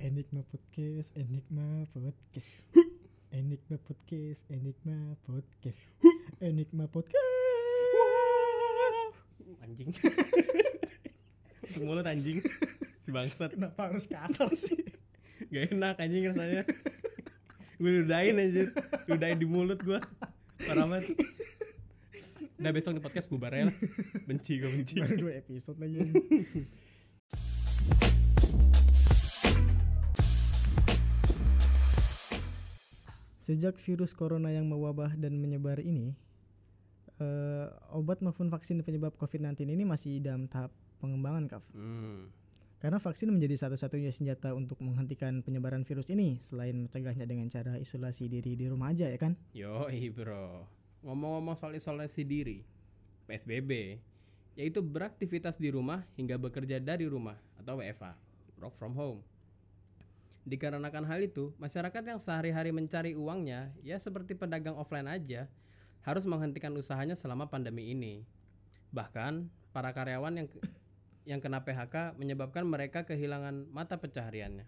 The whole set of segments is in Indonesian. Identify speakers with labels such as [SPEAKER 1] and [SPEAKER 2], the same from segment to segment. [SPEAKER 1] Enigma Podcast, Enigma Podcast. Enigma Podcast, Enigma Podcast. Enigma Podcast.
[SPEAKER 2] anjing untuk mulut anjing si bangsat
[SPEAKER 1] Kenapa harus kasar sih?
[SPEAKER 2] gak enak anjing rasanya gue ludahin aja ludahin di mulut gue parah banget udah besok di podcast bubar ya lah. benci gue benci
[SPEAKER 1] Baru dua episode lagi. Sejak virus corona yang mewabah dan menyebar ini, eh, obat maupun vaksin penyebab COVID-19 ini masih dalam tahap pengembangan, Kaf.
[SPEAKER 2] hmm.
[SPEAKER 1] Karena vaksin menjadi satu-satunya senjata untuk menghentikan penyebaran virus ini, selain mencegahnya dengan cara isolasi diri di rumah aja ya kan?
[SPEAKER 2] yoi bro ngomong-ngomong soal isolasi diri PSBB yaitu beraktivitas di rumah hingga bekerja dari rumah atau WFH work from home Dikarenakan hal itu, masyarakat yang sehari-hari mencari uangnya, ya seperti pedagang offline aja, harus menghentikan usahanya selama pandemi ini. Bahkan, para karyawan yang yang kena PHK menyebabkan mereka kehilangan mata pencahariannya.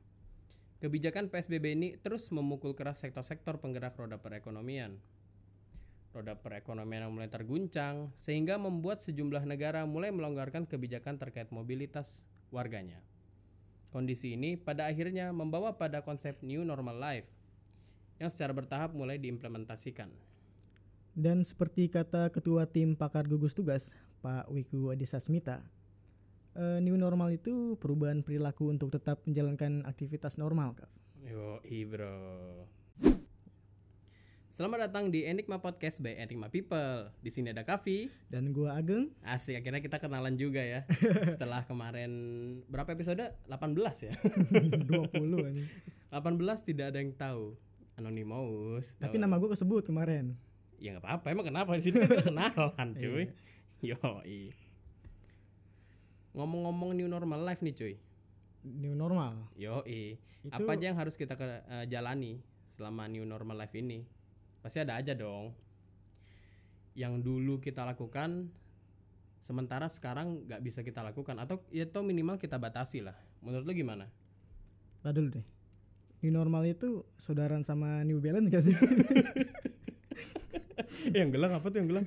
[SPEAKER 2] Kebijakan PSBB ini terus memukul keras sektor-sektor penggerak roda perekonomian. Roda perekonomian yang mulai terguncang, sehingga membuat sejumlah negara mulai melonggarkan kebijakan terkait mobilitas warganya. Kondisi ini pada akhirnya membawa pada konsep new normal life yang secara bertahap mulai diimplementasikan.
[SPEAKER 1] Dan seperti kata Ketua Tim Pakar Gugus Tugas, Pak Wiku Adhisa Smita, eh, new normal itu perubahan perilaku untuk tetap menjalankan aktivitas normal, Kak.
[SPEAKER 2] Yo, bro. Selamat datang di Enigma Podcast by Enigma People. Di sini ada Kavi.
[SPEAKER 1] Dan gua Ageng,
[SPEAKER 2] Asik, akhirnya kita kenalan juga ya. Setelah kemarin berapa episode? 18 ya.
[SPEAKER 1] 20 ini.
[SPEAKER 2] 18 tidak ada yang tahu. Anonymous.
[SPEAKER 1] Tapi
[SPEAKER 2] tahu.
[SPEAKER 1] nama gua kesebut kemarin.
[SPEAKER 2] ya nggak apa-apa emang kenapa di sini kan kita kenalan cuy
[SPEAKER 1] Iya.
[SPEAKER 2] yoi ngomong-ngomong new normal life nih cuy
[SPEAKER 1] New normal.
[SPEAKER 2] yoi
[SPEAKER 1] Itu
[SPEAKER 2] apa aja yang harus kita ke- eh, jalani selama new normal life ini pasti ada aja dong yang dulu kita lakukan sementara sekarang nggak bisa kita lakukan atau ya atau minimal kita batasi lah menurut lu gimana
[SPEAKER 1] Nah dulu deh. New normal itu saudaran sama New Balance gak sih?
[SPEAKER 2] Eh, yang gelang apa tuh yang gelang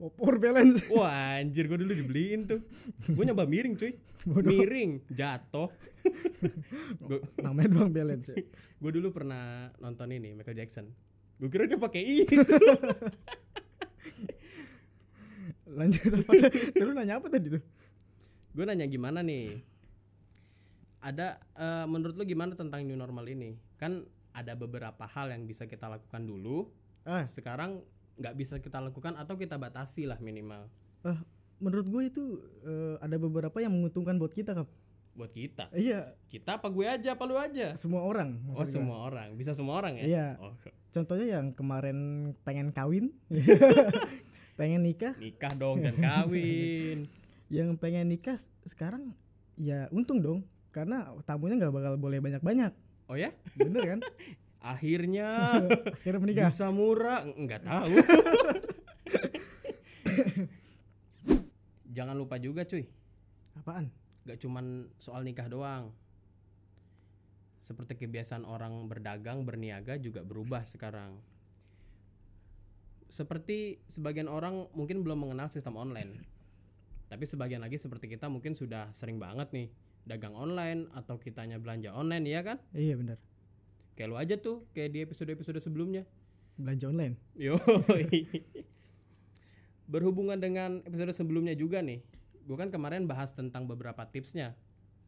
[SPEAKER 1] Popor Balance.
[SPEAKER 2] wah anjir gue dulu dibeliin tuh gue nyoba miring cuy
[SPEAKER 1] Bodoh.
[SPEAKER 2] miring jatuh Gua-
[SPEAKER 1] Namanya doang Balance. ya.
[SPEAKER 2] Gue dulu pernah nonton ini Michael Jackson. Gue kira dia pakai itu.
[SPEAKER 1] Lanjut apa? Terus nanya apa tadi tuh?
[SPEAKER 2] gue nanya gimana nih? Ada eh, menurut lu gimana tentang new normal ini? Kan ada beberapa hal yang bisa kita lakukan dulu.
[SPEAKER 1] Ah,
[SPEAKER 2] Sekarang nggak bisa kita lakukan atau kita batasi lah minimal
[SPEAKER 1] menurut gue itu eh, ada beberapa yang menguntungkan buat kita kap
[SPEAKER 2] buat kita.
[SPEAKER 1] iya
[SPEAKER 2] Kita apa gue aja apa lu aja?
[SPEAKER 1] semua orang
[SPEAKER 2] Oh
[SPEAKER 1] maksud gua.
[SPEAKER 2] semua orang, bisa semua orang ya?
[SPEAKER 1] Iya.
[SPEAKER 2] Oh,
[SPEAKER 1] contohnya yang kemarin pengen kawin pengen nikah
[SPEAKER 2] nikah dong dan kawin.
[SPEAKER 1] yang pengen nikah s- sekarang ya untung dong karena tamunya nggak bakal boleh banyak banyak
[SPEAKER 2] Oh ya?
[SPEAKER 1] bener kan
[SPEAKER 2] Akhirnya
[SPEAKER 1] akhirnya menikah
[SPEAKER 2] Bisa murah? Enggak tahu. Jangan lupa juga cuy,
[SPEAKER 1] apaan
[SPEAKER 2] gak cuman soal nikah doang. Seperti kebiasaan orang berdagang, berniaga juga berubah sekarang. Seperti sebagian orang mungkin belum mengenal sistem online. Tapi sebagian lagi seperti kita mungkin sudah sering banget nih dagang online atau kitanya belanja online ya kan?
[SPEAKER 1] iya bener
[SPEAKER 2] Kayak lu aja tuh, kayak di episode-episode sebelumnya.
[SPEAKER 1] belanja online
[SPEAKER 2] Yoi. Berhubungan dengan episode sebelumnya juga nih. Gue kan kemarin bahas tentang beberapa tipsnya.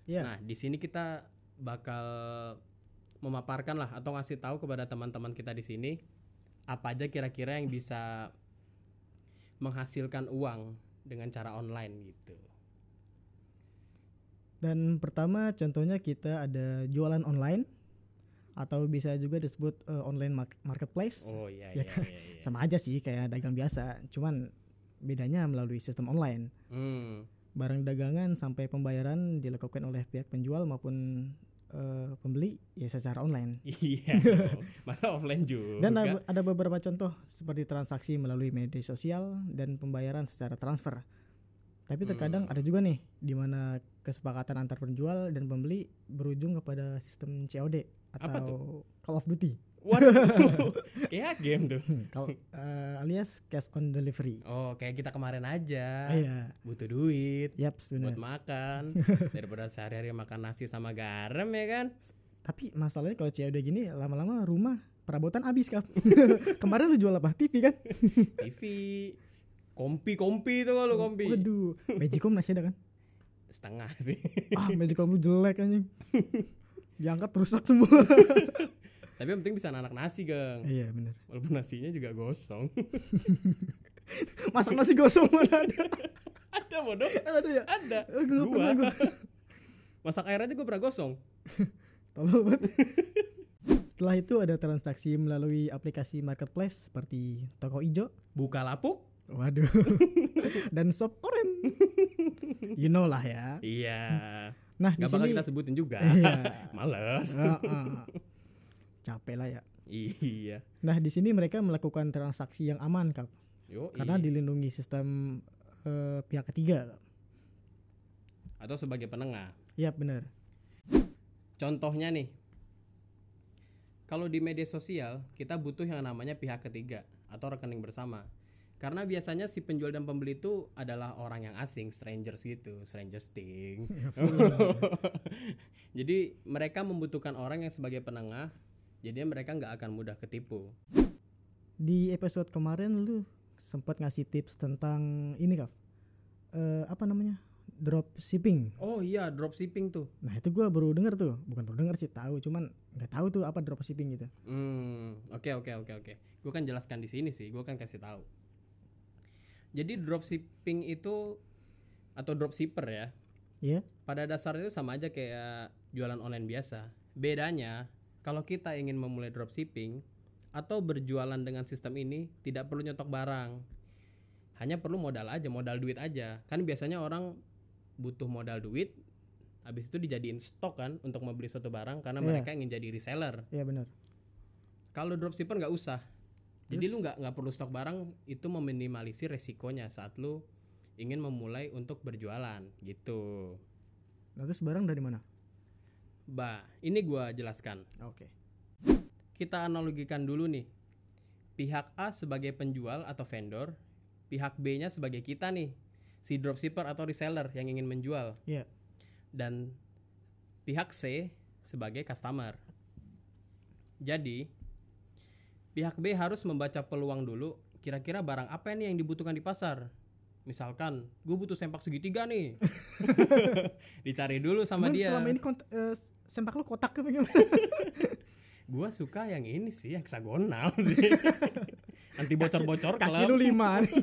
[SPEAKER 1] Iya.
[SPEAKER 2] Nah, di sini kita bakal memaparkan lah atau ngasih tahu kepada teman-teman kita di sini apa aja kira-kira yang bisa menghasilkan uang dengan cara online gitu.
[SPEAKER 1] dan pertama contohnya kita ada jualan online atau bisa juga disebut eh, online mar- marketplace
[SPEAKER 2] Oh iya
[SPEAKER 1] Ya
[SPEAKER 2] iya
[SPEAKER 1] kan?
[SPEAKER 2] iya. iya.
[SPEAKER 1] sama aja sih kayak dagang biasa cuman bedanya melalui sistem online
[SPEAKER 2] Hmm.
[SPEAKER 1] barang dagangan sampai pembayaran dilakukan oleh pihak penjual maupun eh, pembeli ya secara online.
[SPEAKER 2] Iya. dong. Masa offline juga.
[SPEAKER 1] Dan uh, ada, ada beberapa contoh seperti transaksi melalui media sosial dan pembayaran secara transfer.
[SPEAKER 2] Hmm.
[SPEAKER 1] Tapi terkadang ada juga nih di mana kesepakatan antar penjual dan pembeli berujung kepada sistem COD
[SPEAKER 2] Apa
[SPEAKER 1] atau Call of Duty.
[SPEAKER 2] Waduh, kayak game tuh.
[SPEAKER 1] Kalau eh, alias cash on delivery.
[SPEAKER 2] Oh, kayak kita kemarin aja.
[SPEAKER 1] Iya,
[SPEAKER 2] Butuh duit
[SPEAKER 1] yap benar.
[SPEAKER 2] buat makan daripada sehari-hari makan nasi sama garam ya kan?
[SPEAKER 1] Tapi masalahnya kalau COD gini lama-lama rumah perabotan habis kan. Kemarin lu jual apa? TV kan?
[SPEAKER 2] TV, kompi-kompi itu kalau kompi.
[SPEAKER 1] Waduh, Magicom masih ada kan?
[SPEAKER 2] Setengah sih.
[SPEAKER 1] Ah, Magicom lu jelek anjing. Diangkat rusak semua.
[SPEAKER 2] Tapi yang penting bisa anak nasi, Gang.
[SPEAKER 1] Iya, benar.
[SPEAKER 2] Walaupun nasinya juga gosong.
[SPEAKER 1] Masak nasi gosong mana ada?
[SPEAKER 2] Ada bodoh.
[SPEAKER 1] Ada ya?
[SPEAKER 2] Ada.
[SPEAKER 1] Eh, gua nggak
[SPEAKER 2] Gua.
[SPEAKER 1] pernah, gua.
[SPEAKER 2] Masak air aja gue pernah gosong.
[SPEAKER 1] Tolol banget. Setelah itu ada transaksi melalui aplikasi marketplace seperti toko ijo,
[SPEAKER 2] Buka lapuk.
[SPEAKER 1] waduh, dan shop oren. You know lah ya.
[SPEAKER 2] Iya.
[SPEAKER 1] Nah di
[SPEAKER 2] Gak bakal
[SPEAKER 1] sini,
[SPEAKER 2] kita sebutin juga.
[SPEAKER 1] Iya.
[SPEAKER 2] Males.
[SPEAKER 1] Heeh. capek lah ya.
[SPEAKER 2] Iya.
[SPEAKER 1] Nah di sini mereka melakukan transaksi yang aman kak,
[SPEAKER 2] Yo,
[SPEAKER 1] karena dilindungi sistem eh, pihak ketiga. Kak.
[SPEAKER 2] atau sebagai penengah.
[SPEAKER 1] Iya benar.
[SPEAKER 2] Contohnya nih, kalau di media sosial kita butuh yang namanya pihak ketiga atau rekening bersama. Karena biasanya si penjual dan pembeli itu adalah orang yang asing, strangers gitu, strangers thing. ya. Jadi mereka membutuhkan orang yang sebagai penengah, jadi mereka nggak akan mudah ketipu.
[SPEAKER 1] Di episode kemarin lu sempat ngasih tips tentang ini kak, Eh, apa namanya dropshipping.
[SPEAKER 2] Oh iya, dropshipping tuh.
[SPEAKER 1] Nah itu gua baru denger tuh, bukan baru denger sih tahu, cuman nggak tahu tuh apa dropshipping gitu.
[SPEAKER 2] Hmm, oke oke oke oke. Gue kan jelaskan di sini sih, gue kan kasih tahu. Jadi dropshipping itu atau dropshipper ya.
[SPEAKER 1] Iya.
[SPEAKER 2] Pada dasarnya itu sama aja kayak jualan online biasa. Bedanya kalau kita ingin memulai dropshipping atau berjualan dengan sistem ini tidak perlu nyetok barang. Hanya perlu modal aja, modal duit aja. Kan biasanya orang butuh modal duit habis itu dijadiin stok kan untuk membeli suatu barang karena
[SPEAKER 1] Iya.
[SPEAKER 2] mereka ingin jadi reseller.
[SPEAKER 1] Iya benar.
[SPEAKER 2] Kalau dropshipper nggak usah. Jadi
[SPEAKER 1] Terus?
[SPEAKER 2] lu nggak nggak perlu stok barang itu meminimalisir resikonya saat lu ingin memulai untuk berjualan gitu.
[SPEAKER 1] Nah terus barang dari mana?
[SPEAKER 2] Bah, ini gua jelaskan.
[SPEAKER 1] Oke.
[SPEAKER 2] Kita analogikan dulu nih. Pihak A sebagai penjual atau vendor, pihak B-nya sebagai kita nih, si dropshipper atau reseller yang ingin menjual.
[SPEAKER 1] Iya.
[SPEAKER 2] Dan pihak C sebagai customer. Jadi, pihak B harus membaca peluang dulu kira-kira barang apa nih yang dibutuhkan di pasar. Misalkan, gue butuh sempak segitiga nih. Dicari dulu sama
[SPEAKER 1] Cuman
[SPEAKER 2] dia.
[SPEAKER 1] Selama ini kont- eh, sempak lu kotak apa gimana?
[SPEAKER 2] Gua suka yang ini sih heksagonal sih. Anti bocor-bocor
[SPEAKER 1] Kaki
[SPEAKER 2] kalau.
[SPEAKER 1] lu lima. nih.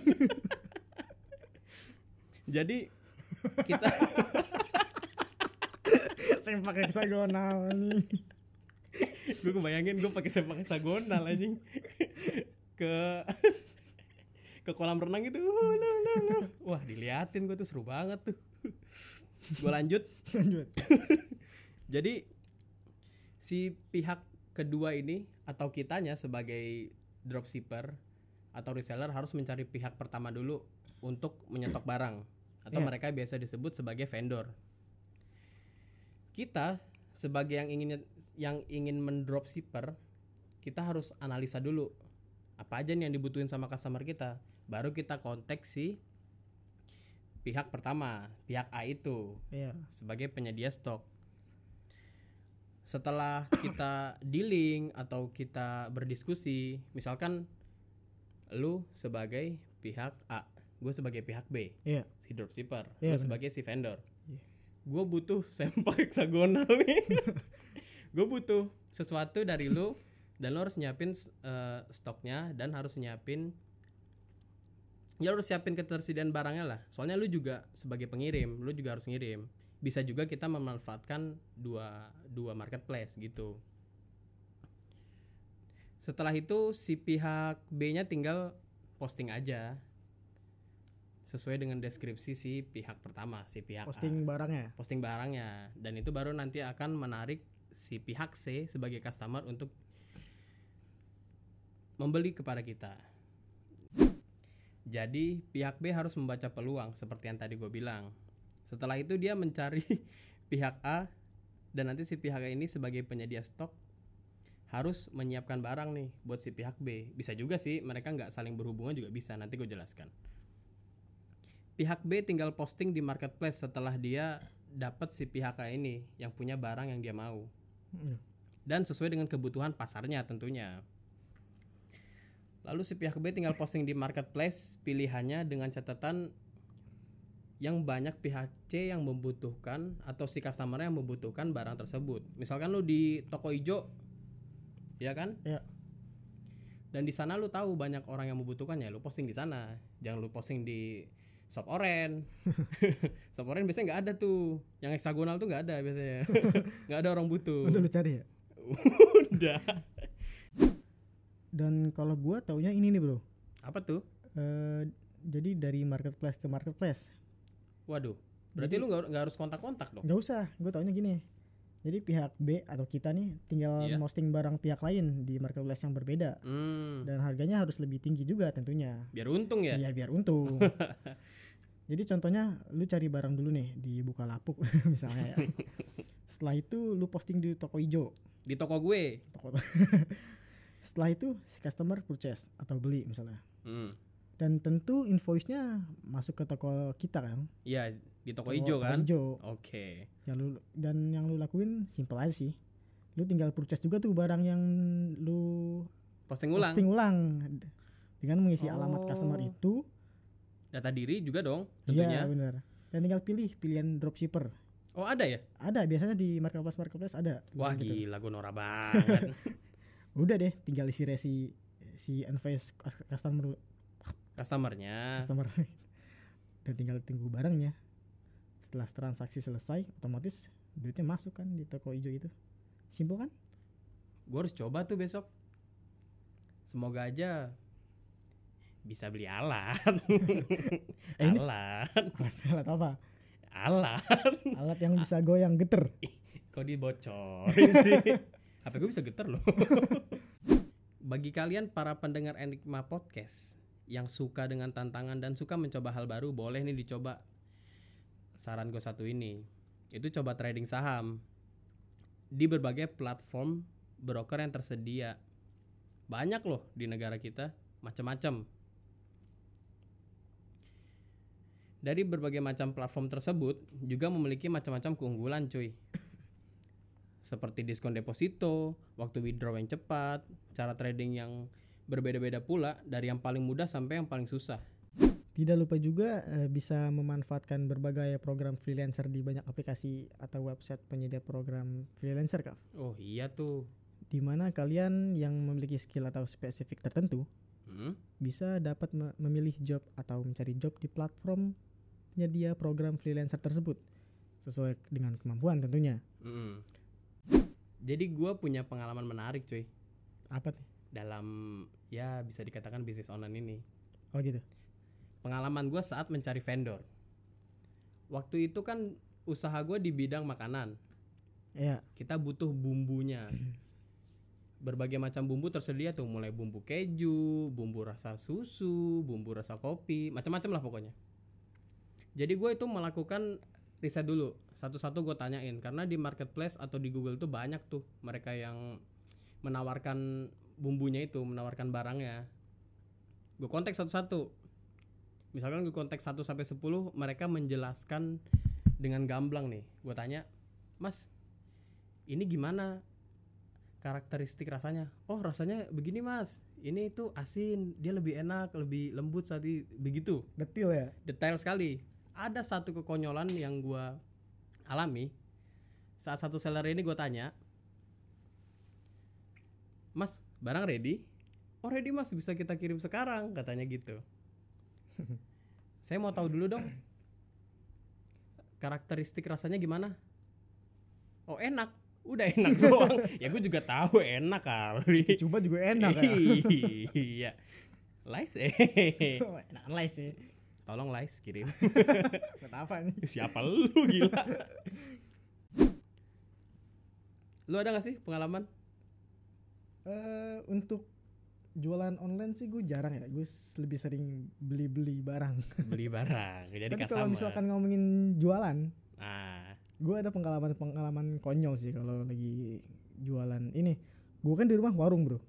[SPEAKER 2] Jadi kita
[SPEAKER 1] sempak heksagonal. nih.
[SPEAKER 2] gue kebayangin gue pakai sepak heksagonal anjing ke ke kolam renang itu Uh, no, no, no. wah diliatin gue tuh seru banget tuh gue lanjut
[SPEAKER 1] Lanjut.
[SPEAKER 2] jadi si pihak kedua ini atau kitanya sebagai dropshipper atau reseller harus mencari pihak pertama dulu untuk menyetok barang atau
[SPEAKER 1] Iya.
[SPEAKER 2] mereka biasa disebut sebagai vendor. Kita sebagai yang ingin yang ingin mendropshipper, kita harus analisa dulu apa aja nih yang dibutuhin sama customer kita, baru kita kontak si pihak pertama, pihak A itu
[SPEAKER 1] Iya.
[SPEAKER 2] sebagai penyedia stok. Setelah kita dealing atau kita berdiskusi, misalkan lu sebagai pihak A, gue sebagai pihak B,
[SPEAKER 1] Iya.
[SPEAKER 2] si dropshipper,
[SPEAKER 1] Iya,
[SPEAKER 2] gue
[SPEAKER 1] benar.
[SPEAKER 2] sebagai si vendor.
[SPEAKER 1] Iya.
[SPEAKER 2] Gue butuh sampel heksagonal nih. gue butuh sesuatu dari lu dan lu harus nyiapin eh, stoknya dan harus nyiapin ya lu harus siapin ketersediaan barangnya lah. Soalnya lu juga sebagai pengirim, lu juga harus ngirim. Bisa juga kita memanfaatkan dua dua marketplace gitu. Setelah itu si pihak B-nya tinggal posting aja sesuai dengan deskripsi si pihak pertama, si pihak A
[SPEAKER 1] Posting barangnya. ya?
[SPEAKER 2] posting barangnya dan itu baru nanti akan menarik si pihak C sebagai customer untuk membeli kepada kita. Jadi pihak B harus membaca peluang seperti yang tadi gue bilang. Setelah itu dia mencari pihak A dan nanti si pihak A ini sebagai penyedia stok harus menyiapkan barang nih buat si pihak B. Bisa juga sih mereka nggak saling berhubungan juga bisa. Nanti gue jelaskan. Pihak B tinggal posting di marketplace setelah dia dapat si pihak A ini yang punya barang yang dia mau
[SPEAKER 1] Hmm.
[SPEAKER 2] dan sesuai dengan kebutuhan pasarnya tentunya. Lalu si pihak B tinggal posting di marketplace pilihannya dengan catatan yang banyak pihak C yang membutuhkan atau si customer yang membutuhkan barang tersebut. Misalkan lu di toko ijo, ya kan?
[SPEAKER 1] Iya.
[SPEAKER 2] Dan di sana lu tahu banyak orang yang membutuhkannya, lu posting di sana. Jangan lu posting di shop oren. shop oren biasanya nggak ada tuh. Yang heksagonal tuh nggak ada biasanya. Nggak ada orang butuh.
[SPEAKER 1] Udah lu cari ya?
[SPEAKER 2] Udah.
[SPEAKER 1] Dan kalau gua taunya ini nih, Bro.
[SPEAKER 2] Apa tuh?
[SPEAKER 1] Eh, jadi dari marketplace ke marketplace.
[SPEAKER 2] Waduh. Berarti
[SPEAKER 1] Jadi-
[SPEAKER 2] lu nggak nggak harus kontak-kontak dong.
[SPEAKER 1] Nggak usah, gue taunya gini. Jadi pihak B atau kita nih tinggal
[SPEAKER 2] Iya.
[SPEAKER 1] posting barang pihak lain di marketplace yang berbeda
[SPEAKER 2] Hmm.
[SPEAKER 1] dan harganya harus lebih tinggi juga tentunya.
[SPEAKER 2] Biar untung ya.
[SPEAKER 1] Iya biar untung. Jadi contohnya lu cari barang dulu nih di Bukalapuk misalnya ya. Setelah itu lu posting di toko ijo.
[SPEAKER 2] Di toko gue.
[SPEAKER 1] Toko Setelah itu si customer purchase atau beli misalnya.
[SPEAKER 2] Hmm.
[SPEAKER 1] Dan tentu invoice-nya masuk ke toko kita kan.
[SPEAKER 2] Iya, di
[SPEAKER 1] Toko-
[SPEAKER 2] toko ijo
[SPEAKER 1] toko
[SPEAKER 2] kan.
[SPEAKER 1] ijo.
[SPEAKER 2] Oke.
[SPEAKER 1] Yang lu- dan yang lu lakuin simple aja sih. Lu tinggal purchase juga tuh barang yang lu
[SPEAKER 2] Posting ulang.
[SPEAKER 1] posting ulang dengan mengisi alamat
[SPEAKER 2] Oh.
[SPEAKER 1] customer itu.
[SPEAKER 2] Data diri juga dong
[SPEAKER 1] Iya
[SPEAKER 2] tentunya.
[SPEAKER 1] benar. Dan tinggal pilih pilihan dropshipper.
[SPEAKER 2] Oh, ada ya?
[SPEAKER 1] ada biasanya di marketplace marketplace ada
[SPEAKER 2] Wah,
[SPEAKER 1] Gitu.
[SPEAKER 2] gila gue norak banget.
[SPEAKER 1] udah deh tinggal isi resi si invoice cus- customer
[SPEAKER 2] Customernya.
[SPEAKER 1] customer dan tinggal tunggu barangnya setelah transaksi selesai otomatis duitnya masuk kan di toko hijau itu simpel kan
[SPEAKER 2] Gue harus coba tuh besok. Semoga aja bisa beli alat.
[SPEAKER 1] Eh, ini-
[SPEAKER 2] alat,
[SPEAKER 1] alat, alat apa
[SPEAKER 2] alat.
[SPEAKER 1] alat yang bisa goyang geter
[SPEAKER 2] Kok dibocorin sih? HP gue bisa getar loh. Bagi kalian para pendengar Enigma Podcast yang suka dengan tantangan dan suka mencoba hal baru, boleh nih dicoba saran gue satu ini. Itu coba trading saham di berbagai platform broker yang tersedia. Banyak loh di negara kita, macam-macam. Dari berbagai macam platform tersebut juga memiliki macam-macam keunggulan, cuy seperti diskon deposito, waktu withdraw yang cepat, cara trading yang berbeda-beda pula dari yang paling mudah sampai yang paling susah.
[SPEAKER 1] tidak lupa juga eh, bisa memanfaatkan berbagai program freelancer di banyak aplikasi atau website penyedia program freelancer kah
[SPEAKER 2] Oh iya tuh.
[SPEAKER 1] di mana kalian yang memiliki skill atau spesifik tertentu
[SPEAKER 2] Hmm?
[SPEAKER 1] bisa dapat me- memilih job atau mencari job di platform penyedia program freelancer tersebut sesuai dengan kemampuan tentunya.
[SPEAKER 2] Mm-mm. Hmm. Jadi gua punya pengalaman menarik cuy
[SPEAKER 1] Apa tuh?
[SPEAKER 2] dalam ya bisa dikatakan bisnis online ini.
[SPEAKER 1] Oh gitu.
[SPEAKER 2] Pengalaman gua saat mencari vendor. Waktu itu kan usaha gua di bidang makanan.
[SPEAKER 1] Iya,
[SPEAKER 2] kita butuh bumbunya berbagai macam bumbu tersedia tuh mulai bumbu keju bumbu rasa susu bumbu rasa kopi macam-macam lah pokoknya jadi gue itu melakukan riset dulu satu-satu gue tanyain karena di marketplace atau di Google tuh banyak tuh mereka yang menawarkan bumbunya itu menawarkan barangnya gue kontak satu-satu misalkan gue kontak 1 sampai 10 mereka menjelaskan dengan gamblang nih gue tanya mas ini gimana karakteristik rasanya oh rasanya begini mas ini tuh asin dia lebih enak lebih lembut saat di- begitu
[SPEAKER 1] detil ya.
[SPEAKER 2] detail sekali ada satu kekonyolan yang gua alami saat satu seller ini gue tanya mas barang ready oh ready mas bisa kita kirim sekarang katanya gitu saya mau tahu dulu dong karakteristik rasanya gimana oh enak udah enak doang ya gue juga tahu enak kali
[SPEAKER 1] Coba juga enak ya.
[SPEAKER 2] iya lice
[SPEAKER 1] Oh, enak nice sih.
[SPEAKER 2] Tolong Lais kirim.
[SPEAKER 1] Kenapa nih?
[SPEAKER 2] Siapa lu gila? lu ada gak sih pengalaman?
[SPEAKER 1] Eh, untuk jualan online sih gue jarang ya gue s- lebih sering beli beli barang
[SPEAKER 2] beli barang jadi
[SPEAKER 1] tapi
[SPEAKER 2] customer.
[SPEAKER 1] kalau misalkan ngomongin jualan
[SPEAKER 2] nah
[SPEAKER 1] gue ada pengalaman pengalaman konyol sih kalau lagi jualan ini gue kan di rumah warung bro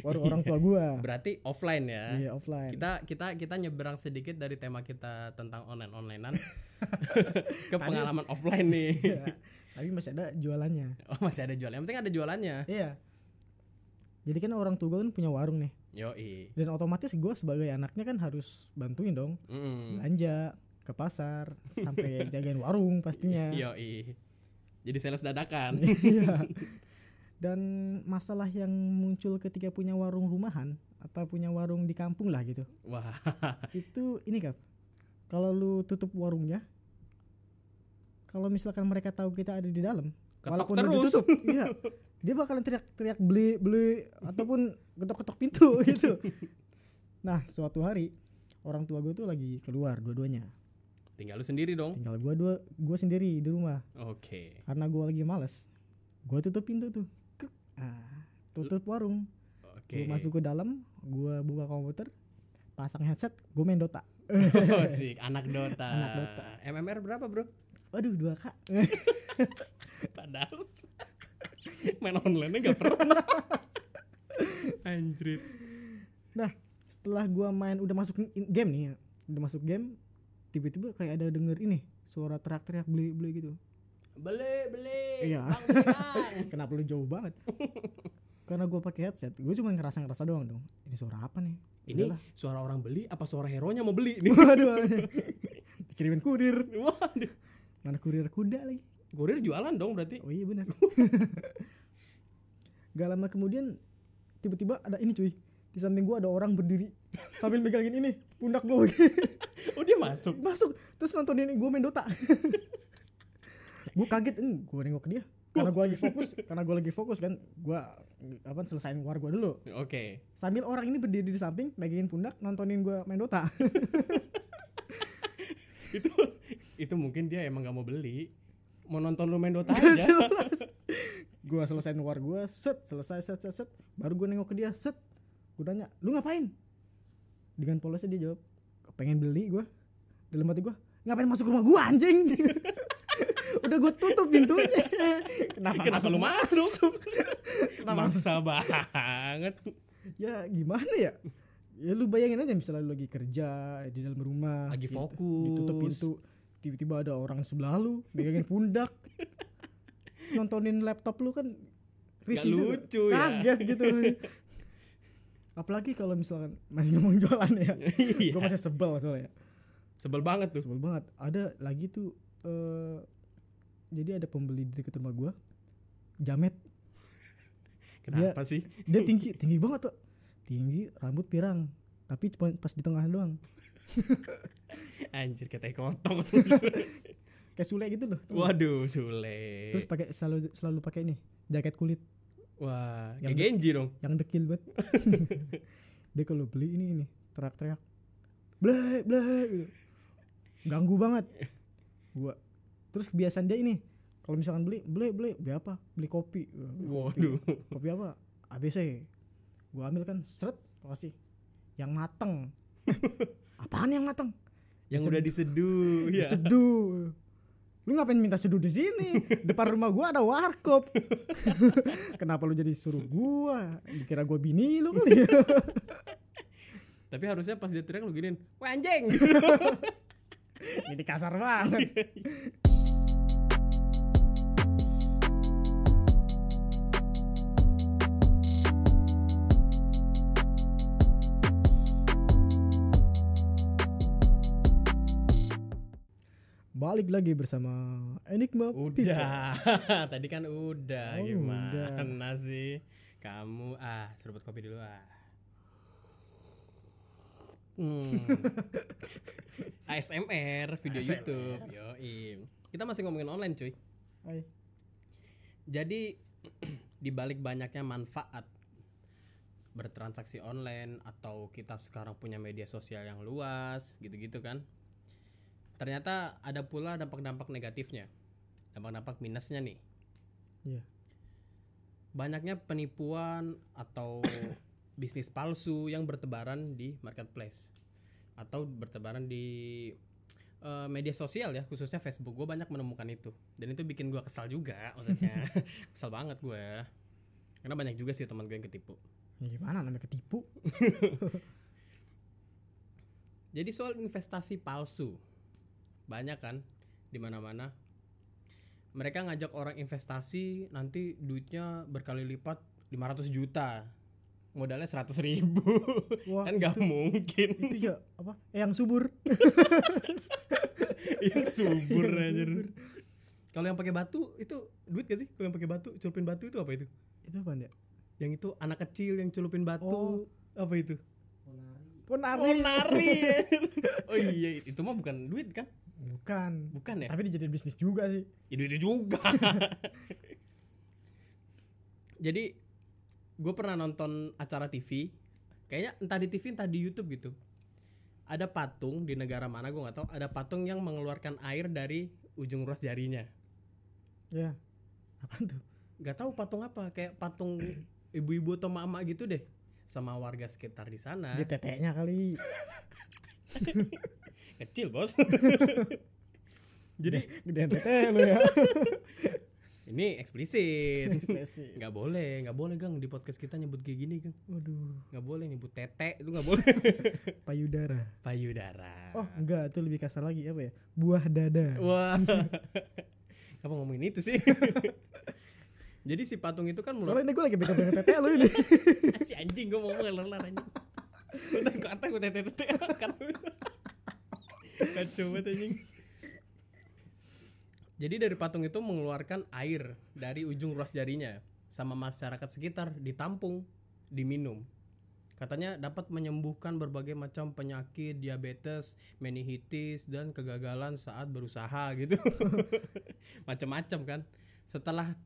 [SPEAKER 1] warung orang tua gue
[SPEAKER 2] berarti offline ya
[SPEAKER 1] iya offline
[SPEAKER 2] kita kita kita nyebrang sedikit dari tema kita tentang online onlinean ke
[SPEAKER 1] Tadi-
[SPEAKER 2] pengalaman offline nih
[SPEAKER 1] Iya. tapi masih ada jualannya
[SPEAKER 2] oh masih ada jualan yang penting ada jualannya
[SPEAKER 1] iya jadi kan orang tua gue kan punya warung nih
[SPEAKER 2] yoi
[SPEAKER 1] dan otomatis gue sebagai anaknya kan harus bantuin dong
[SPEAKER 2] Mm.
[SPEAKER 1] Nah, belanja ke pasar sampai jagain warung pastinya
[SPEAKER 2] yoi jadi sales dadakan
[SPEAKER 1] Iya. Dan masalah yang muncul ketika punya warung rumahan atau punya warung di kampung lah gitu.
[SPEAKER 2] wah
[SPEAKER 1] Itu ini kap. Kalau lu tutup warungnya, kalau misalkan mereka tahu kita ada di dalam,
[SPEAKER 2] ketok
[SPEAKER 1] udah
[SPEAKER 2] terus
[SPEAKER 1] ditutup, iya, dia bakalan teriak-teriak beli beli ataupun ketok-ketok pintu gitu. Nah, suatu hari orang tua gue tuh lagi keluar dua-duanya.
[SPEAKER 2] tinggal lu sendiri dong
[SPEAKER 1] Tinggal gue dua gue sendiri di rumah
[SPEAKER 2] oke
[SPEAKER 1] karena gue lagi males gue tutup pintu tuh Kruk. Ah, tutup warung
[SPEAKER 2] oke
[SPEAKER 1] gue masuk ke dalam gue buka komputer pasang headset gue main dota
[SPEAKER 2] Oh, sik. anak Dota.
[SPEAKER 1] Anak Dota.
[SPEAKER 2] MMR berapa, Bro?
[SPEAKER 1] aduh dua kak
[SPEAKER 2] Padahal main online-nya enggak pernah. Anjrit.
[SPEAKER 1] setelah gue main udah masuk in- game nih ya. udah masuk game tiba-tiba kayak ada denger ini suara teriak-teriak beli beli gitu
[SPEAKER 2] Beli, beli.
[SPEAKER 1] Iya.
[SPEAKER 2] Bang, beli, Bang.
[SPEAKER 1] kenapa lu jauh banget karena gue pakai headset gue cuma ngerasa ngerasa doang dong ini suara apa nih
[SPEAKER 2] Ini
[SPEAKER 1] Udahlah.
[SPEAKER 2] suara orang beli apa suara hero-nya mau beli nih?
[SPEAKER 1] waduh dikirimin kurir
[SPEAKER 2] Waduh.
[SPEAKER 1] mana kurir kuda lagi
[SPEAKER 2] Kurir jualan dong berarti.
[SPEAKER 1] Oh iya benar. Gak lama kemudian tiba-tiba ada ini cuy. Di samping gua ada orang berdiri sambil megangin ini pundak gua
[SPEAKER 2] Oh, dia masuk.
[SPEAKER 1] Masuk terus nontonin gua main Dota. gua kaget, eh, gua nengok ke dia. Karena gua lagi fokus, karena gua lagi fokus kan, gua apa selesain war gua dulu.
[SPEAKER 2] Oke.
[SPEAKER 1] Sambil orang ini berdiri di samping megangin pundak nontonin gua main Dota.
[SPEAKER 2] Itu itu mungkin dia emang gak mau beli. Mau nonton lu main Dota aja.
[SPEAKER 1] jelas gue selesain war gue set selesai set set set baru gue nengok ke dia set gue nanya lu ngapain dengan polosnya dia jawab pengen beli gue dalam hati gue ngapain masuk rumah gue anjing udah gue tutup pintunya kenapa,
[SPEAKER 2] Kenapa lu masuk?
[SPEAKER 1] Kenapa?
[SPEAKER 2] Maksa banget.
[SPEAKER 1] ya gimana ya ya lu bayangin aja misalnya lu lagi kerja di dalam rumah
[SPEAKER 2] Lagi
[SPEAKER 1] gitu.
[SPEAKER 2] fokus.
[SPEAKER 1] ditutup pintu tiba-tiba ada orang sebelah lu megangin pundak Terus nontonin laptop lu kan risih juga.
[SPEAKER 2] lucu ya.
[SPEAKER 1] kaget gitu apalagi kalau misalkan masih ngomong jualan ya
[SPEAKER 2] Iya.
[SPEAKER 1] gue masih sebel soalnya
[SPEAKER 2] Sebel banget tuh.
[SPEAKER 1] sebel banget ada lagi tuh eh jadi ada pembeli di dekat rumah gua jamet
[SPEAKER 2] Kenapa sih?
[SPEAKER 1] dia tinggi tinggi banget pak tinggi rambut pirang tapi cuma pas di tengah doang
[SPEAKER 2] Anjir katanya kontong.
[SPEAKER 1] kayak sule gitu loh
[SPEAKER 2] Waduh, Sule.
[SPEAKER 1] terus pakai selalu selalu pakai ini jaket kulit
[SPEAKER 2] Wah,
[SPEAKER 1] Yang
[SPEAKER 2] kayak Genji dong.
[SPEAKER 1] yang dekil banget dia kalau beli ini ini teriak-teriak bleh bleh gitu. ganggu banget gua terus kebiasaan dia ini kalau misalkan beli beli beli beli apa beli kopi
[SPEAKER 2] Waduh.
[SPEAKER 1] kopi apa ABC gua ambil kan seret gua kasih yang mateng apaan yang iya. mateng
[SPEAKER 2] Yang udah diseduh, ya.
[SPEAKER 1] seduh lu ngapain minta seduh di sini depan rumah gua ada warkop kenapa lu jadi suruh gua dikira gua bini lu kali ya
[SPEAKER 2] Tapi harusnya pas dia teriak lu giniin, "Wah, anjing."
[SPEAKER 1] jadi kasar banget balik lagi bersama Enigma People.
[SPEAKER 2] udah. Tadi kan udah
[SPEAKER 1] Oh,
[SPEAKER 2] gimana sih? Kamu ah, seruput kopi dulu ah. Hmm. ASMR video YouTube. Yoi. Kita masih ngomongin online, cuy.
[SPEAKER 1] Hai.
[SPEAKER 2] Jadi di balik banyaknya manfaat bertransaksi online atau kita sekarang punya media sosial yang luas gitu-gitu kan. Ternyata ada pula dampak-dampak negatifnya. Dampak-dampak minusnya nih.
[SPEAKER 1] Iya.
[SPEAKER 2] Banyaknya penipuan atau bisnis palsu yang bertebaran di marketplace atau bertebaran di eh, media sosial ya khususnya Facebook gue banyak menemukan itu dan itu bikin gue kesal juga maksudnya kesal banget gue karena banyak juga sih teman gue yang ketipu
[SPEAKER 1] Ya gimana namanya ketipu?
[SPEAKER 2] Jadi soal investasi palsu banyak kan di mana-mana. Mereka ngajak orang investasi nanti duitnya berkali lipat 500 juta. Modalnya 100 ribu
[SPEAKER 1] Wah,
[SPEAKER 2] kan nggak mungkin
[SPEAKER 1] itu ya apa? Eh, yang subur.
[SPEAKER 2] yang subur
[SPEAKER 1] Yang
[SPEAKER 2] anjir.
[SPEAKER 1] subur.
[SPEAKER 2] Kalau yang pakai batu itu duit gak sih? Kalau yang pakai batu celupin batu itu apa itu?
[SPEAKER 1] Itu apaan ya?
[SPEAKER 2] Yang itu anak kecil yang celupin
[SPEAKER 1] Oh.
[SPEAKER 2] batu apa itu?
[SPEAKER 1] Ponari.
[SPEAKER 2] Oh nari. oh iya itu mah bukan duit kan?
[SPEAKER 1] Bukan.
[SPEAKER 2] Bukan ya?
[SPEAKER 1] Tapi dijadiin bisnis juga sih.
[SPEAKER 2] itu itu juga jadi gue pernah nonton acara TV kayaknya entah di TV entah di YouTube gitu ada patung di negara mana gue nggak tahu ada patung yang mengeluarkan air dari ujung ruas jarinya
[SPEAKER 1] Ya. Apaan tuh?
[SPEAKER 2] nggak tahu patung apa kayak patung ibu-ibu atau emak-emak gitu deh sama warga sekitar di sana
[SPEAKER 1] Dia teteknya kali.
[SPEAKER 2] kecil bos jadi
[SPEAKER 1] Gedean tete lu ya.
[SPEAKER 2] ini eksplisit
[SPEAKER 1] Ekspresi.
[SPEAKER 2] nggak boleh nggak boleh gang di podcast kita nyebut kayak gini gang
[SPEAKER 1] Waduh,
[SPEAKER 2] nggak boleh nyebut tete itu nggak boleh
[SPEAKER 1] payudara.
[SPEAKER 2] payudara.
[SPEAKER 1] Oh, enggak, itu lebih kasar lagi apa ya? Buah dada.
[SPEAKER 2] Wah. Kenapa ngomongin itu sih? Jadi si patung itu kan mulai
[SPEAKER 1] Soalnya ini gue lagi pegang pegang tete lu ini.
[SPEAKER 2] si anjing gue mau ngelar anjing. Udah kata gue tete-tete kan. Kacau banget anjing. Jadi dari patung itu mengeluarkan air dari ujung ruas jarinya sama masyarakat sekitar ditampung, diminum. Katanya dapat menyembuhkan berbagai macam penyakit, diabetes, meningitis dan kegagalan saat berusaha gitu. Macam-macam kan. Setelah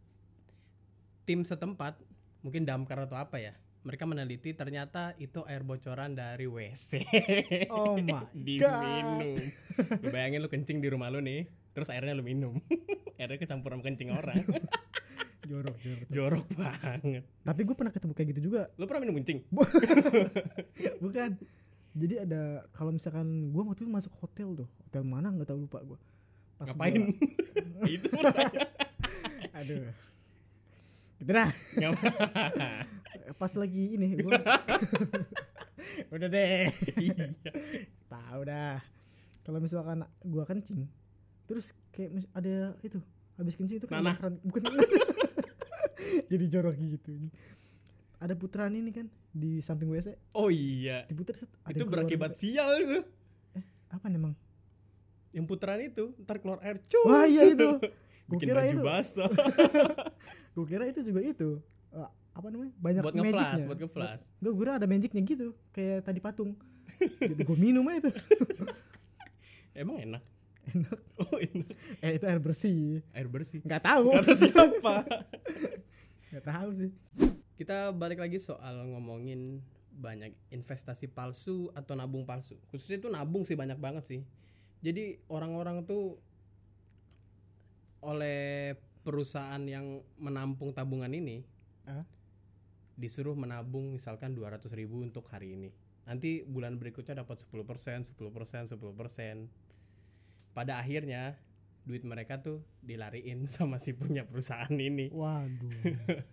[SPEAKER 2] tim setempat, mungkin damkar atau apa ya, mereka meneliti ternyata itu air bocoran dari WC.
[SPEAKER 1] Oh my god.
[SPEAKER 2] Diminum. Lu bayangin lu kencing di rumah lu nih, terus airnya lu minum. airnya kecampur sama kencing orang.
[SPEAKER 1] Jorok, jorok.
[SPEAKER 2] Jorok banget.
[SPEAKER 1] Tapi gue pernah ketemu kayak gitu juga.
[SPEAKER 2] Lu pernah minum kencing?
[SPEAKER 1] Bukan. Jadi ada kalau misalkan gue waktu itu masuk hotel tuh, hotel mana nggak tahu lupa gue.
[SPEAKER 2] Ngapain? itu pertanyaan.
[SPEAKER 1] gua- aduh. Gitu dah.
[SPEAKER 2] Ngapain?
[SPEAKER 1] Pas lagi ini gua Udah deh.
[SPEAKER 2] Iya.
[SPEAKER 1] Tahu dah. Kalau misalkan gua kencing, terus kayak mis- ada itu habis kencing itu kayak
[SPEAKER 2] Nanah.
[SPEAKER 1] putaran- bukan jadi jorok gitu. Ada putaran ini kan di samping WC,
[SPEAKER 2] Oh iya.
[SPEAKER 1] diputar set, ada
[SPEAKER 2] itu
[SPEAKER 1] yang keluar
[SPEAKER 2] berakibat
[SPEAKER 1] gitu.
[SPEAKER 2] sial itu.
[SPEAKER 1] apa nih, Mang?
[SPEAKER 2] Yang putaran itu ntar keluar air cus.
[SPEAKER 1] Wah, iya itu. Gua
[SPEAKER 2] Bikin
[SPEAKER 1] kira
[SPEAKER 2] baju
[SPEAKER 1] itu.
[SPEAKER 2] basah.
[SPEAKER 1] Gue kira itu juga itu. Eh, apa namanya? Banyak
[SPEAKER 2] buat ngeflash,
[SPEAKER 1] magicnya.
[SPEAKER 2] buat ngeflash.
[SPEAKER 1] Gue kira ada magicnya gitu, kayak tadi patung. Jadi gue minum aja itu.
[SPEAKER 2] Emang enak.
[SPEAKER 1] Enak.
[SPEAKER 2] Oh enak.
[SPEAKER 1] Eh itu air bersih.
[SPEAKER 2] Air bersih.
[SPEAKER 1] Gak tahu.
[SPEAKER 2] Kata siapa?
[SPEAKER 1] Gak tahu sih.
[SPEAKER 2] Kita balik lagi soal ngomongin banyak investasi palsu atau nabung palsu. Khususnya itu nabung sih banyak banget sih. Jadi orang-orang tuh oleh perusahaan yang menampung tabungan ini
[SPEAKER 1] Hah?
[SPEAKER 2] disuruh menabung misalkan 200 ribu untuk hari ini. Nanti bulan berikutnya dapat 10%, 10%, 10%. Pada akhirnya duit mereka tuh dilariin sama si punya perusahaan ini
[SPEAKER 1] Waduh.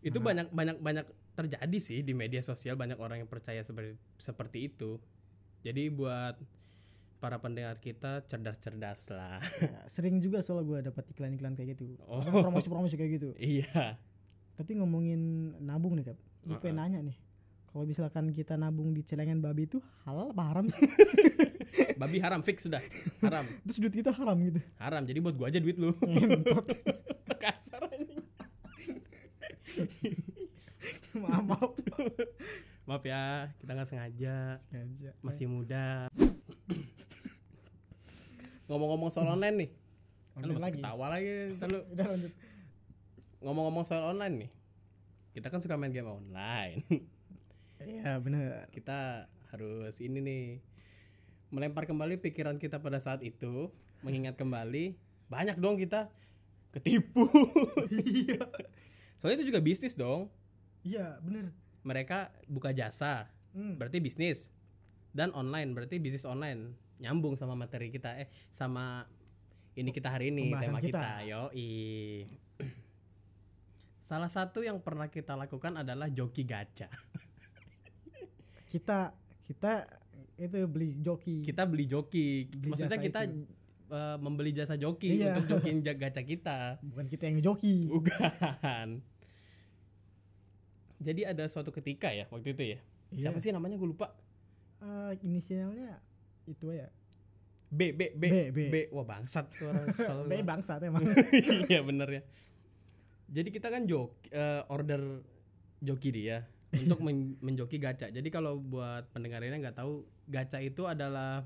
[SPEAKER 2] itu
[SPEAKER 1] Nah.
[SPEAKER 2] banyak banyak banyak terjadi sih di media sosial banyak orang yang percaya seperti seperti itu jadi buat para pendengar kita cerdas-cerdas lah
[SPEAKER 1] Ya, sering juga soalnya gue dapat iklan-iklan kayak gitu.
[SPEAKER 2] oh
[SPEAKER 1] Promosi-promosi kayak gitu.
[SPEAKER 2] iya
[SPEAKER 1] Tapi ngomongin nabung nih, Kak. Gue pengen
[SPEAKER 2] Uh-uh.
[SPEAKER 1] nanya nih. Kalau misalkan kita nabung di celengan babi itu halal apa haram sih?
[SPEAKER 2] babi haram fix sudah haram
[SPEAKER 1] Terus duit kita haram gitu.
[SPEAKER 2] haram jadi buat gua aja duit lu
[SPEAKER 1] Ngentot.
[SPEAKER 2] kasar anjing.
[SPEAKER 1] maaf, maaf.
[SPEAKER 2] maaf ya kita nggak sengaja masih muda ngomong-ngomong soal online nih kan
[SPEAKER 1] Online
[SPEAKER 2] lu masih
[SPEAKER 1] lagi.
[SPEAKER 2] ketawa lagi ntar lu
[SPEAKER 1] Udah lanjut.
[SPEAKER 2] ngomong-ngomong soal online nih kita kan suka main game online
[SPEAKER 1] Iya, bener.
[SPEAKER 2] kita harus ini nih melempar kembali pikiran kita pada saat itu mengingat kembali banyak dong kita ketipu
[SPEAKER 1] Iya.
[SPEAKER 2] soalnya itu juga bisnis dong
[SPEAKER 1] Iya bener
[SPEAKER 2] mereka buka jasa
[SPEAKER 1] Hmm.
[SPEAKER 2] berarti bisnis dan online berarti bisnis online nyambung sama materi kita eh sama ini kita hari ini
[SPEAKER 1] Pembahasan
[SPEAKER 2] tema
[SPEAKER 1] kita.
[SPEAKER 2] kita, yoi salah satu yang pernah kita lakukan adalah joki gacha
[SPEAKER 1] kita kita itu beli joki
[SPEAKER 2] kita beli joki
[SPEAKER 1] Beli jasa
[SPEAKER 2] maksudnya kita
[SPEAKER 1] itu.
[SPEAKER 2] eh, membeli jasa joki
[SPEAKER 1] Iya.
[SPEAKER 2] untuk jokiin ja- gacha kita
[SPEAKER 1] bukan kita yang joki
[SPEAKER 2] bukan jadi ada suatu ketika ya waktu itu ya
[SPEAKER 1] Iya.
[SPEAKER 2] siapa sih namanya gue lupa
[SPEAKER 1] Eh, inisialnya itu ya
[SPEAKER 2] B B B
[SPEAKER 1] B, B.
[SPEAKER 2] wah bangsat tuh orang kesel gua.
[SPEAKER 1] B bangsat emang
[SPEAKER 2] iya bener ya jadi kita kan joki eh, order joki dia untuk men- menjoki gacha jadi kalau buat pendengarannya nggak tahu gacha itu adalah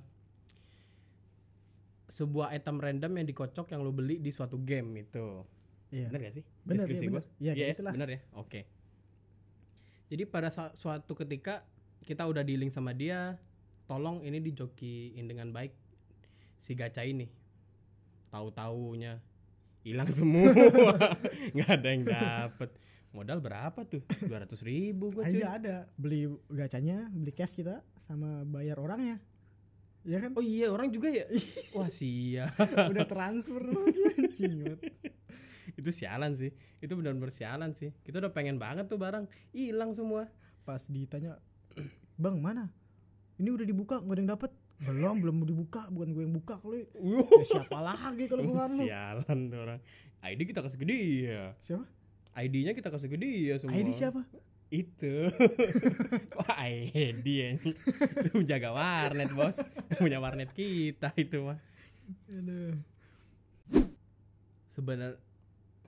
[SPEAKER 2] sebuah item random yang dikocok yang lo beli di suatu game itu
[SPEAKER 1] iya
[SPEAKER 2] bener gak sih
[SPEAKER 1] bener
[SPEAKER 2] deskripsi
[SPEAKER 1] iya,
[SPEAKER 2] gua?
[SPEAKER 1] bener iya
[SPEAKER 2] Iya,
[SPEAKER 1] kayak gitulah
[SPEAKER 2] bener ya. Oke. Jadi pada sa- suatu ketika kita udah dealing sama dia, tolong ini dijokiin dengan baik si gacha ini. Tahu-taunya hilang semua. nggak ada yang dapet. Modal berapa tuh? 200 ribu gue
[SPEAKER 1] Ah,
[SPEAKER 2] cuy.
[SPEAKER 1] iya ada beli gacanya beli cash kita sama bayar orangnya ya kan
[SPEAKER 2] Oh iya orang juga ya? Wah sia.
[SPEAKER 1] udah transfer lagi anjing banget.
[SPEAKER 2] Itu sialan sih. Itu benar-benar sialan sih. Kita udah pengen banget tuh barang. Hilang semua.
[SPEAKER 1] pas ditanya bang mana ini udah dibuka nggak ada yang dapet belum belum dibuka bukan gue yang buka kali ya, siapa lagi kalau bukan lu
[SPEAKER 2] sialan tuh orang. ID kita kasih ke dia.
[SPEAKER 1] siapa
[SPEAKER 2] ID-nya kita kasih ke dia semua.
[SPEAKER 1] ID siapa
[SPEAKER 2] Itu. Wah, ID ya. Lu jaga warnet, Bos. Punya warnet kita itu mah.
[SPEAKER 1] Aduh.
[SPEAKER 2] Sebenar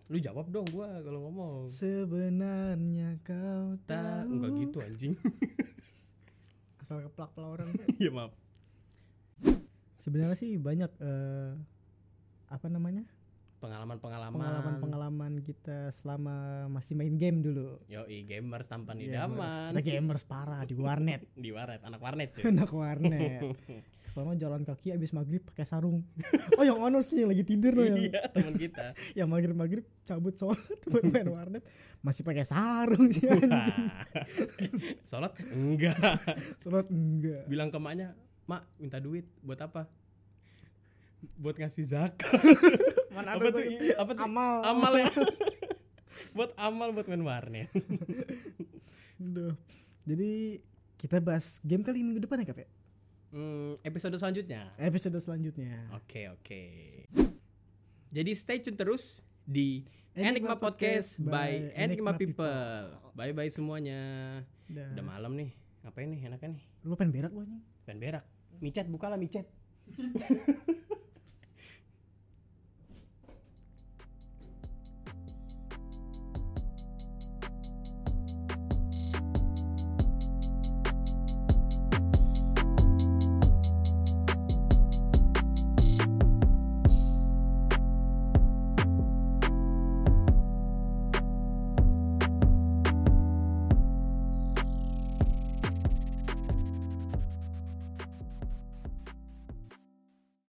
[SPEAKER 2] lu jawab dong gua kalau ngomong.
[SPEAKER 1] sebenarnya kau
[SPEAKER 2] Ta,
[SPEAKER 1] tahu
[SPEAKER 2] enggak gitu anjing.
[SPEAKER 1] asal keplak pelak orang
[SPEAKER 2] Iya, maaf.
[SPEAKER 1] sebenarnya sih banyak eh, apa namanya
[SPEAKER 2] Pengalaman-pengalaman.
[SPEAKER 1] pengalaman pengalaman kita selama masih main game dulu
[SPEAKER 2] Yoi, gamers tampan
[SPEAKER 1] Gamers.
[SPEAKER 2] idaman.
[SPEAKER 1] kita gamers parah di warnet
[SPEAKER 2] Di warnet, anak warnet, cuy.
[SPEAKER 1] anak warnet selama jalan kaki abis maghrib pakai sarung oh yang honor sih yang lagi tidur loh yang,
[SPEAKER 2] iya, teman kita.
[SPEAKER 1] yang maghrib maghrib cabut sholat buat main warnet masih pakai sarung sih anjing.
[SPEAKER 2] Salat enggak.
[SPEAKER 1] sholat enggak
[SPEAKER 2] bilang ke maknya mak minta duit buat apa buat ngasih zakat
[SPEAKER 1] mana
[SPEAKER 2] apa tuh i- apa tuh
[SPEAKER 1] amal
[SPEAKER 2] amal ya buat amal buat main warnet
[SPEAKER 1] Aduh. jadi kita bahas game kali minggu depan ya kak Fe?
[SPEAKER 2] Hmm, episode selanjutnya
[SPEAKER 1] episode selanjutnya
[SPEAKER 2] oke oke jadi stay tune terus di Enigma, Podcast by Enigma, People. Bye bye semuanya.
[SPEAKER 1] Dah.
[SPEAKER 2] Udah malam nih. Ngapain nih enaknya nih?
[SPEAKER 1] lu pengen berak gua nih
[SPEAKER 2] Pengen berak. Micet bukalah micet.